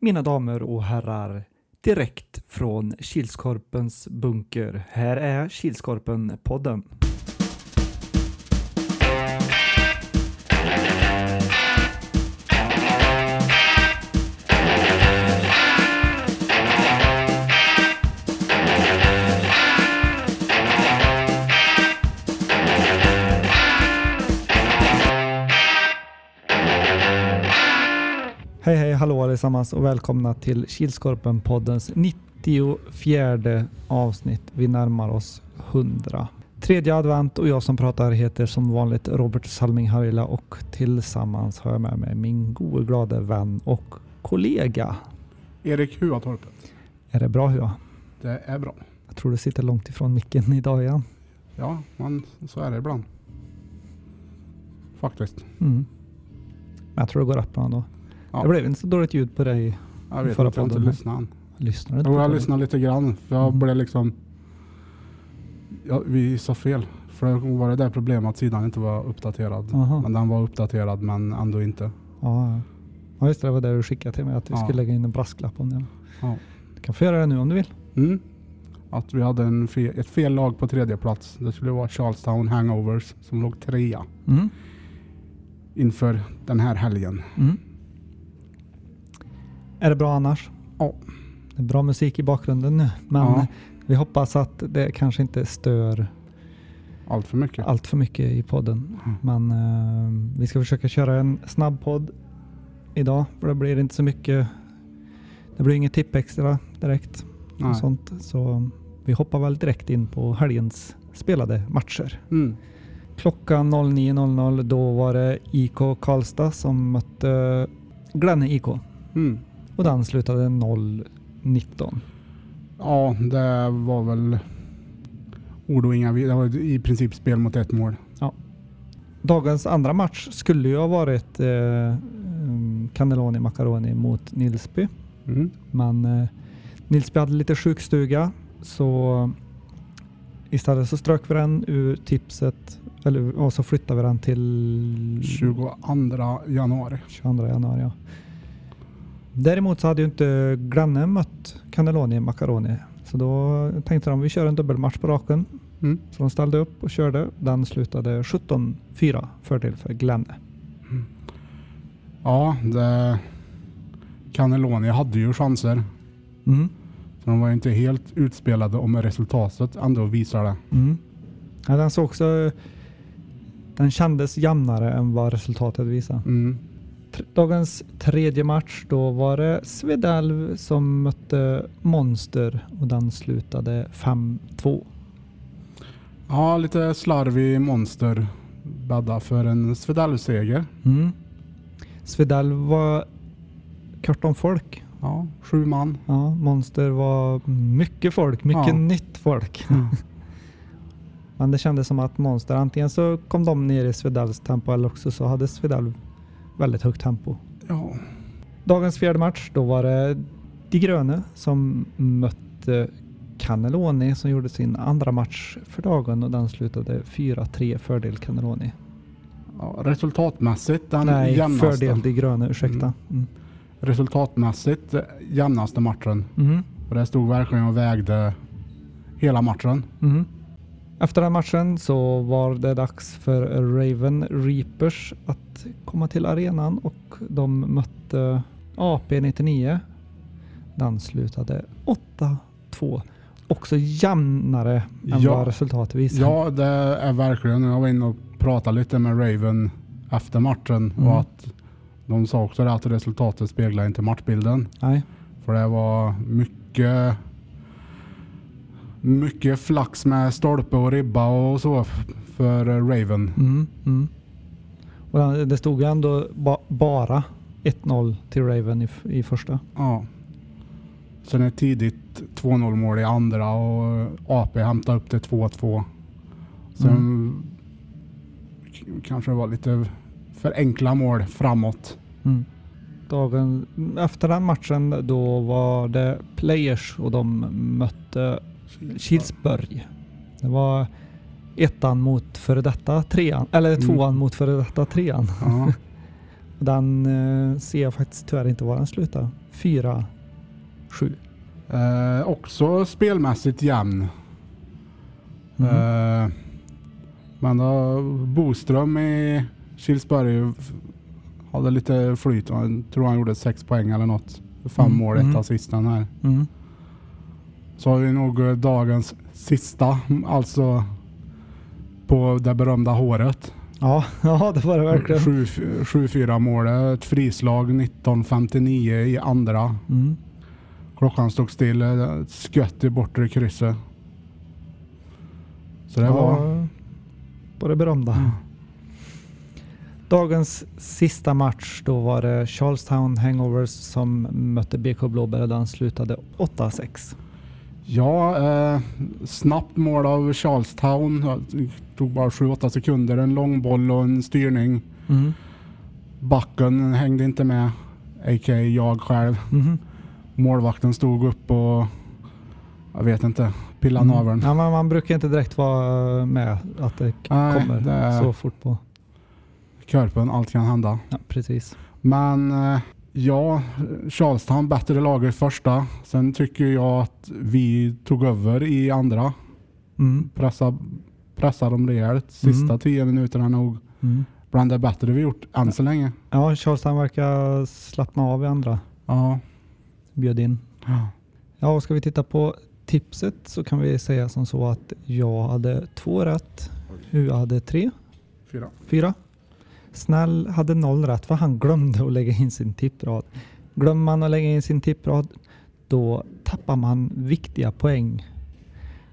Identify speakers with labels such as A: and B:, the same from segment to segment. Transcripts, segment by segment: A: mina damer och herrar, direkt från Kilskorpens bunker. Här är Kilskorpen-podden. Hej hej hallå allesammans och välkomna till Kilskorpen-poddens 94 avsnitt. Vi närmar oss 100. Tredje advent och jag som pratar heter som vanligt Robert Salming Harila och tillsammans har jag med mig min gode glade vän och kollega.
B: Erik Huatorp.
A: Är det bra Hua?
B: Det är bra.
A: Jag tror du sitter långt ifrån micken idag igen.
B: Ja, men så är det ibland. Faktiskt.
A: Mm. Men jag tror det går upp bra ändå.
B: Ja.
A: Det blev inte så dåligt ljud på dig.
B: Jag vet
A: Förra
B: inte, jag har inte
A: podden.
B: lyssnat än.
A: Lyssnar du inte
B: Jo,
A: på
B: jag
A: det?
B: lyssnade lite grann. För jag
A: Mm.
B: blev liksom... Ja, vi sa fel. För det var det där problemet att sidan inte var uppdaterad.
A: Aha.
B: Men den var uppdaterad men ändå inte.
A: Ja, ja. ja just det, det var det du skickade till mig att vi
B: Ja.
A: skulle lägga in en brasklapp om det.
B: Ja.
A: Du kan få göra det nu om du vill.
B: Mm. Att vi hade en fe- ett fel lag på tredje plats. Det skulle vara Charlestown Hangovers som låg trea
A: Mm.
B: inför den här helgen.
A: Mm. Är det bra annars?
B: Ja.
A: Det är bra musik i bakgrunden nu, men
B: Ja.
A: vi hoppas att det kanske inte stör
B: Allt för mycket.
A: allt för mycket i podden.
B: Mm.
A: Men eh, vi ska försöka köra en snabb podd idag, för det blir inte så mycket. Det blir inget tipp extra direkt och
B: Nej.
A: sånt, så vi hoppar väl direkt in på helgens spelade matcher.
B: Mm.
A: Klockan 09.00 då var det IK Karlstad som mötte Glenne IK
B: Mm.
A: och den slutade 0-19.
B: Ja, det var väl ord och inga vi- Det var i princip spel mot ett mål.
A: Dagens andra match skulle ju ha varit eh, mm, Cannelloni Macaroni mot Nilsby,
B: Mm.
A: men eh, Nilsby hade lite sjukstuga så istället så strök vi den ur tipset eller, och så flyttade vi den till
B: 22 januari.
A: 22 januari. Ja. Däremot så hade ju inte Glanne mött Cannelloni Macaroni. Så då tänkte de vi kör en dubbelmatch på raken.
B: Mm.
A: Så de ställde upp och körde. Den slutade 17-4 fördel för Glanne.
B: Ja, det... Cannelloni hade ju chanser.
A: Mm.
B: Så de var ju inte helt utspelade om resultatet ändå visar det.
A: Mm. Ja, den såg också... Den kändes jämnare än vad resultatet visade.
B: Mm.
A: Tr- Dagens tredje match, då var det Svedalv som mötte Monster och den slutade 5-2.
B: Ja, lite slarvig monster bädda för en Svedell-seger.
A: Mm. Svedell var kort om folk.
B: Ja, sju man.
A: Ja, Monster var mycket folk, mycket
B: Ja.
A: nytt folk. Men det kändes som att Monster, antingen så kom de ner i Svedalls tempo eller också så hade Svedall väldigt högt tempo.
B: Ja.
A: Dagens fjärde match, då var det De Gröne som mötte Cannelloni som gjorde sin andra match för dagen och den slutade 4-3 fördel Cannelloni.
B: ja resultatmässigt den
A: Nej,
B: jämnaste.
A: fördel De Gröne, ursäkta. Mm.
B: Resultatmässigt eh, jämnaste matchen.
A: Mhm.
B: Och det stod verkligen och vägde hela matchen.
A: Mhm. Efter den matchen så var det dags för Raven Reapers att komma till arenan och de mötte AP99. Den slutade 8-2. Också jämnare än
B: Ja.
A: vad resultatet visade.
B: Ja, det är verkligen. Jag var inne och pratade lite med Raven efter matchen
A: Mm.
B: och att de sa också det att resultatet speglar inte matchbilden.
A: Nej.
B: För det var mycket mycket flax med stolpe och ribba och så för Raven.
A: Mm, mm. Och den- det stod ju ändå ba- bara 1-0 till Raven i, f- i första.
B: Ja. Sen ett tidigt 2-0 mål i andra och AP hämtade upp till 2-2. Sen
A: Mm.
B: k- kanske det var lite för enkla mål framåt.
A: Dagen efter den matchen då var det Players och de mötte Kilsberg. Det var ettan mot före detta trean, eller
B: Mm.
A: tvåan mot före detta trean.
B: Ja.
A: Den eh, ser jag faktiskt tyvärr inte var den slutar. 4-7.
B: Eh, också spelmässigt jämn.
A: Mhm.
B: Eh, men då Boström i Kilsberg f- hade lite flyt. Jag tror han gjorde sex poäng eller något. Fem
A: Mm,
B: mål, ett
A: mm.
B: assist den här.
A: Mm.
B: Så har vi nog eh, dagens sista, alltså på det berömda håret.
A: Ja, ja, det var det verkligen.
B: 7-4 målet, ett frislag 19.59 i andra.
A: Mm.
B: Klockan stod still, eh, ett skött i bortre krysset. Så det
A: Ja,
B: var...
A: På det berömda.
B: Mm.
A: Dagens sista match, då var det Charlestown Hangovers som mötte BK Blåbär och den slutade 8-6.
B: Ja, eh, snabbt mål av Charlestown. Det tog bara 7-8 sekunder. En långboll och en styrning.
A: Mm.
B: Backen hängde inte med, a.k.a. jag själv.
A: Mhm.
B: Målvakten stod upp och... Jag vet inte. Pillade
A: Mm.
B: naveln.
A: Ja, men man brukar inte direkt vara eh, med att det k-
B: Nej,
A: kommer
B: det är-
A: så fort på.
B: Körpen, allt kan hända.
A: Ja, precis.
B: Men eh, ja, Charlestown bättre lag i första. Sen tycker jag att vi tog över i andra.
A: Mm.
B: Pressa, pressa dem rejält. Sista
A: Mm.
B: tio minuterna nog
A: Mm.
B: bland det bättre vi gjort än så länge.
A: Ja, Charlestown verkar slappna av i andra.
B: Ja.
A: Bjöd in.
B: Ja.
A: Ja, och ska vi titta på tipset så kan vi säga som så att jag hade två rätt. Hu hade tre.
B: Fyra.
A: Fyra. Snäll hade noll rätt för han glömde att lägga in sin tipprad. Glömmer man att lägga in sin tipprad då tappar man viktiga poäng.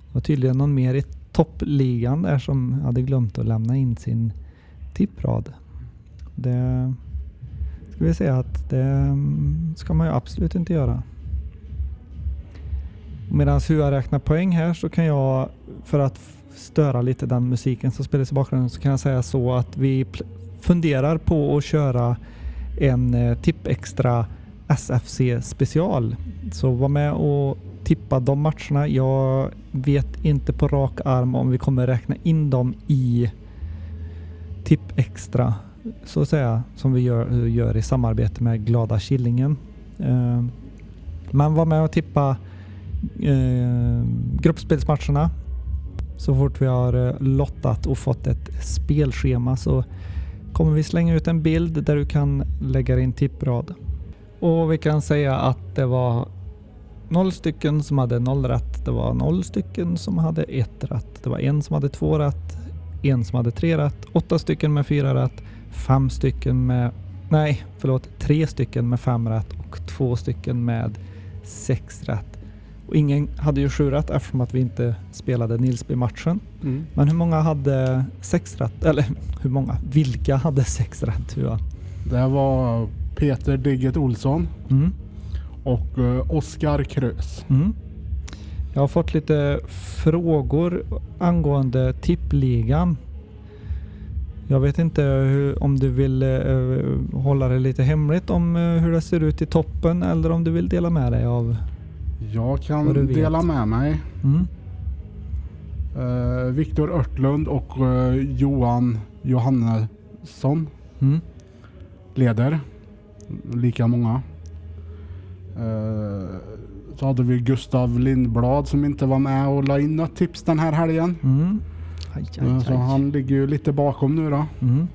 A: Det var tydligen någon mer i toppligan där som hade glömt att lämna in sin tipprad. Det ska vi säga att det mm, ska man ju absolut inte göra. Medan Hua räknar poäng här så kan jag, för att f- störa lite den musiken som spelas i bakgrunden, så kan jag säga så att vi pl- funderar på att köra en eh, tipp extra SFC special. Så var med och tippa de matcherna. Jag vet inte på rak arm om vi kommer räkna in dem i tipp extra så att säga som vi gör, gör i samarbete med Glada Killingen. Eh, Men var med och tippa eh, gruppspelsmatcherna. Så fort vi har eh, lottat och fått ett spelschema så kommer vi slänga ut en bild där du kan lägga din tipprad. Och vi kan säga att det var noll stycken som hade noll rätt. Det var noll stycken som hade ett rätt. Det var en som hade två rätt, en som hade tre rätt, åtta stycken med fyra rätt, fem stycken med... Nej, förlåt, tre stycken med fem rätt och två stycken med sex rätt. Och ingen hade ju sju rätt eftersom att vi inte spelade Nilsby-matchen.
B: Mm.
A: Men hur många hade sex rätt? Eller hur många? Vilka hade sex rätt? Hua?
B: Det var Peter Digget Olsson
A: Mm.
B: och eh, Oskar Krös.
A: Mm. Jag har fått lite frågor angående tippligan. Jag vet inte hur, om du vill eh, hålla det lite hemligt om eh, hur det ser ut i toppen eller om du vill dela med dig av...
B: Jag kan
A: Vad du vet.
B: dela med mig.
A: Mm.
B: Eh, Viktor Örtlund och eh, Johan Johannesson
A: Mm.
B: leder. Lika många. Eh, så hade vi Gustav Lindblad som inte var med och la in något tips den här helgen.
A: Mm. Aj, aj,
B: Eh,
A: aj.
B: Så han ligger ju lite bakom nu då.
A: Mm.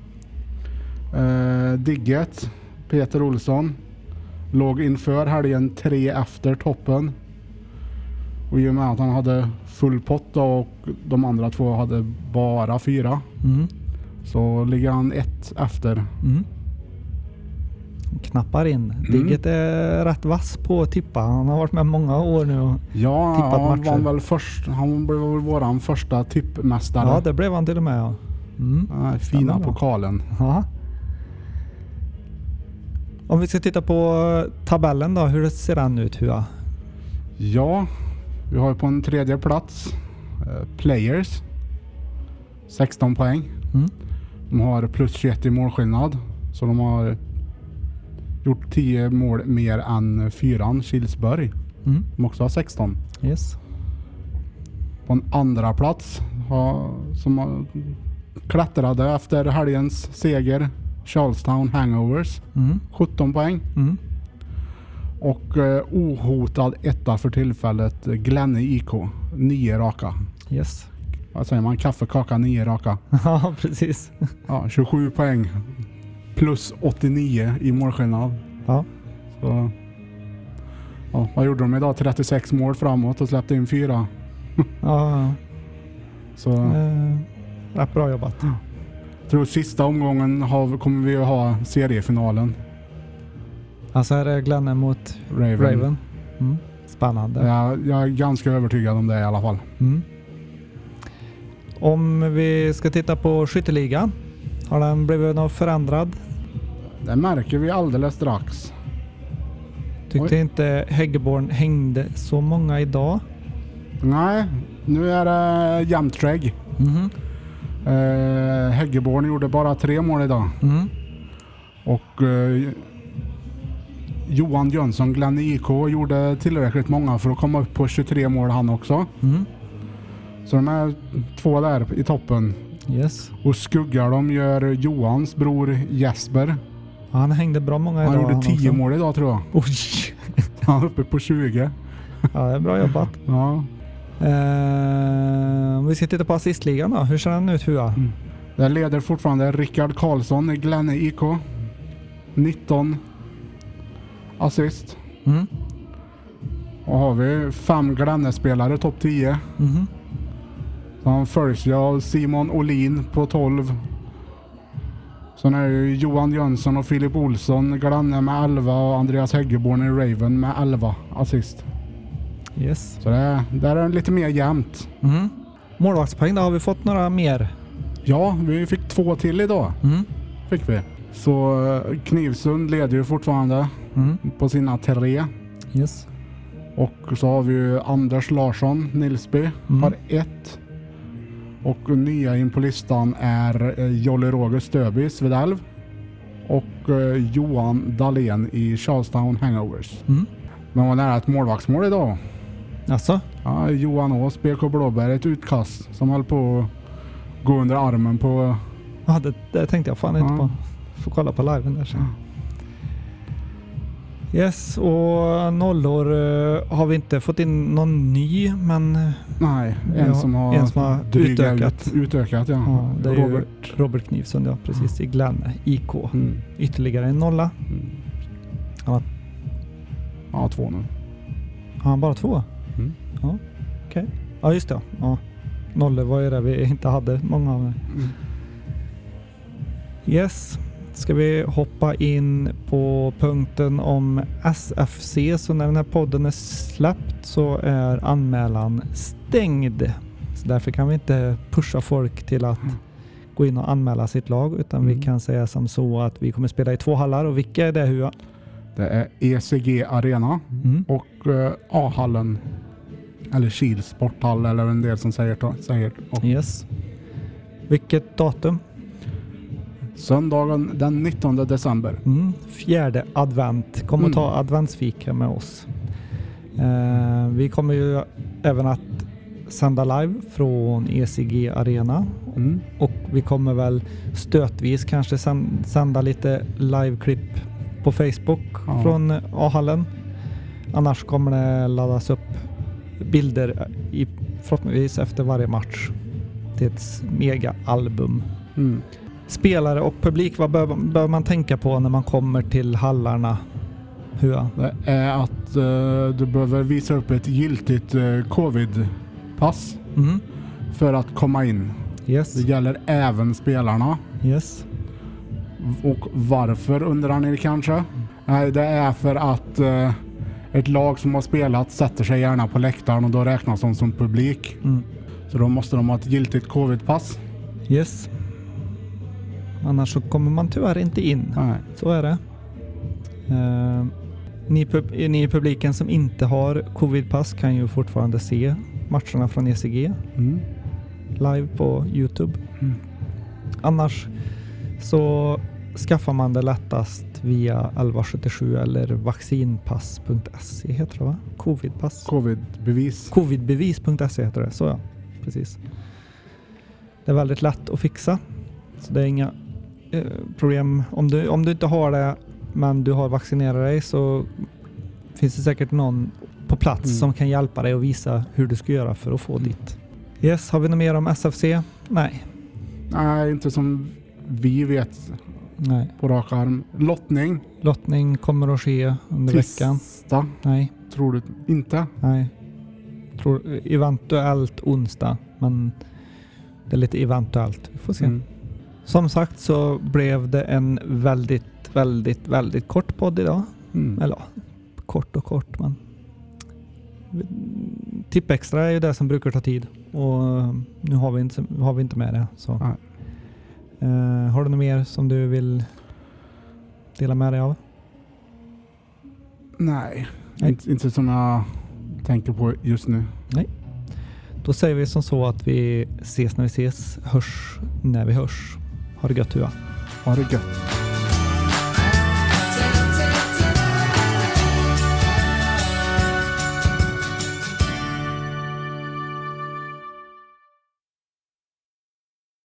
B: Eh, Digget, Peter Olsson, låg inför helgen tre efter toppen. Och i och med att han hade full pott då och de andra två hade bara fyra
A: Mm.
B: så ligger han ett efter.
A: Mm. Knappar in. Digget är rätt vass på att tippa. Han har varit med många år nu. och-
B: Ja,
A: Tippat
B: han
A: matcher.
B: var väl först. Han blev väl våran första tippmästare.
A: Ja, det blev han till och med. Ja. Mm.
B: Ah,
A: Stämmer
B: fina
A: bra.
B: pokalen.
A: Ja. Om vi ska titta på tabellen då, hur ser den ut Hua?
B: Ja, vi har ju på en tredje plats eh, Players. 16 poäng.
A: Mm.
B: De har plus 21 i målskillnad. Så de har gjort 10 mål mer än fyran Kilsberg.
A: Mm.
B: De också har 16.
A: Yes.
B: På en andra plats har, som har klättrade efter helgens seger Charlestown Hangovers.
A: Mm.
B: 17 poäng.
A: Mm.
B: Och eh, ohotad etta för tillfället, eh, Glenny IK. 9 raka.
A: Yes.
B: Vad säger man? Kaffe, kaka, 9 raka.
A: Ja, precis.
B: Ja, 27 poäng. Plus 89 i målskillnad.
A: Ja.
B: Så, ja, vad gjorde de idag? 36 mål framåt och släppte in fyra.
A: Ja,
B: Så
A: ja. Eh, ja, bra jobbat.
B: tror sista omgången har, kommer vi att ha seriefinalen.
A: Alltså här är Glenn mot
B: Raven.
A: Raven. Mm. Spännande.
B: Ja, jag är ganska övertygad om det i alla fall.
A: Mm. Om vi ska titta på skytteligan. Har den blivit något förändrad?
B: Det märker vi alldeles strax.
A: Tyckte inte Häggeborn hängde så många idag.
B: Nej, nu är det jämnt skägg.
A: Mhm.
B: Eh, Häggeborn gjorde bara tre mål idag.
A: Mm.
B: Och eh, Johan Jönsson, Glenn IK, gjorde tillräckligt många för att komma upp på 23 mål han också.
A: Mm.
B: Så de är två där i toppen.
A: Yes.
B: Och skuggar de gör Johans bror Jesper.
A: Han hängde bra många idag.
B: Han gjorde 10
A: också.
B: mål idag tror jag.
A: Oj!
B: Han är uppe på 20.
A: Ja, det är bra jobbat.
B: Ja.
A: Eh, om vi ska titta på assistligan då. Hur ser den ut Hua?
B: Där leder fortfarande Rickard Karlsson i Glenne IK. 19 assist.
A: Mm.
B: Och har vi fem Glenne-spelare topp 10.
A: Mhm.
B: Så Han följs ju av Simon Olin på 12. Sen är det ju Johan Jönsson och Filip Olsson, Glanne med 11 och Andreas Häggeborn i Raven med 11 assist.
A: Yes.
B: Så det, där är det lite mer jämnt.
A: Mhm. Målvaktspoäng då. Har vi fått några mer?
B: Ja, vi fick två till idag.
A: Mm.
B: Fick vi. Så eh, Knivsund leder ju fortfarande
A: Mm.
B: på sina tre.
A: Yes.
B: Och så har vi ju Anders Larsson, Nilsby,
A: Mm.
B: har ett. Och nya in på listan är eh, Jolly Roger Stöby, Svedalv. Och eh, Johan Dahlén i Charlestown Hangovers.
A: Mm.
B: Men var nära ett målvaktsmål idag.
A: Alltså?
B: Ja, Johan Ås, BK Blåbär, ett utkast som höll på att gå under armen på...
A: Ja, det, det tänkte jag fan inte
B: Ja.
A: på. Får kolla på liven där sen. Yes, och nollor eh, har vi inte fått in någon ny, men eh,
B: Nej, en
A: Ja,
B: som har,
A: en som har
B: drygat
A: utökat.
B: Ut, utökat ja.
A: ja, det är
B: Robert.
A: ju Robert Knivsson, ja precis, i Glenn IK.
B: Mm.
A: Ytterligare en nolla.
B: Ja, två nu.
A: Har han bara två?
B: Mm.
A: Ja, okej. Ja, just det. Ja. Nollor var ju det vi inte hade många av.
B: Mm.
A: Yes, ska vi hoppa in på punkten om SFC. Så när den här podden är släppt så är anmälan stängd. Så därför kan vi inte pusha folk till att gå in och anmäla sitt lag utan
B: Mm.
A: vi kan säga som så att vi kommer spela i två hallar och vilka är det Hua?
B: Det är ECG Arena.
A: Mm.
B: och eh, A-hallen. Eller Kils sporthall eller en del som säger, säger. Och
A: Yes. Vilket datum?
B: Söndagen den 19 december.
A: Mm. Fjärde advent. Kom och
B: Mm.
A: ta adventsfika med oss. Eh, vi kommer ju även att sända live från ECG Arena
B: Mm.
A: och vi kommer väl stötvis kanske sen- sända lite liveklipp på Facebook
B: Ja.
A: från A-hallen. Annars kommer det laddas upp bilder i, förhoppningsvis efter varje match till ett mega-album.
B: Mm.
A: Spelare och publik, vad bör, bör man tänka på när man kommer till hallarna? Hua?
B: Det är att eh, du behöver visa upp ett giltigt eh, covid-pass
A: Mm.
B: för att komma in.
A: Yes.
B: Det gäller även spelarna.
A: Yes.
B: Och varför undrar ni kanske? Nej, det är för att eh, ett lag som har spelat sätter sig gärna på läktaren och då räknas de som publik.
A: Mm.
B: Så då måste de ha ett giltigt covid-pass.
A: Yes. Annars så kommer man tyvärr inte in.
B: Nej.
A: Så är det. Eh, ni, pub- ni i publiken som inte har covidpass kan ju fortfarande se matcherna från E ECG
B: Mm.
A: live på Youtube.
B: Mm.
A: Annars så skaffar man det lättast via 1177 eller vaccinpass.se heter det va? Covidpass.
B: Covid-bevis.
A: Covidbevis.se E heter det, så ja. Precis. Det är väldigt lätt att fixa. Så det är inga eh, problem. Om du, om du inte har det men du har vaccinerat dig så finns det säkert någon på plats
B: Mm.
A: som kan hjälpa dig och visa hur du ska göra för att få
B: Mm.
A: ditt. Yes, har vi något mer om SFC? Nej.
B: Nej, inte som vi vet
A: Nej.
B: på rak arm. Lottning.
A: Lottning kommer att ske under veckan.
B: Tisdag.
A: Nej,
B: Tror du inte?
A: nej. Tror, eventuellt onsdag, men det är lite eventuellt. Vi får se.
B: Mm.
A: Som sagt så blev det en väldigt, väldigt, väldigt kort podd idag.
B: Mm.
A: Eller ja, kort och kort men... Tippextra är ju det som brukar ta tid och nu har vi inte, har vi inte med det. Så.
B: Nej.
A: Eh, har du något mer som du vill dela med dig av?
B: Nej,
A: Nej.
B: Inte, inte som jag tänker på just nu.
A: Då säger vi som så att vi ses när vi ses, hörs när vi hörs. Ha det gött Tua.
B: Ha det gött.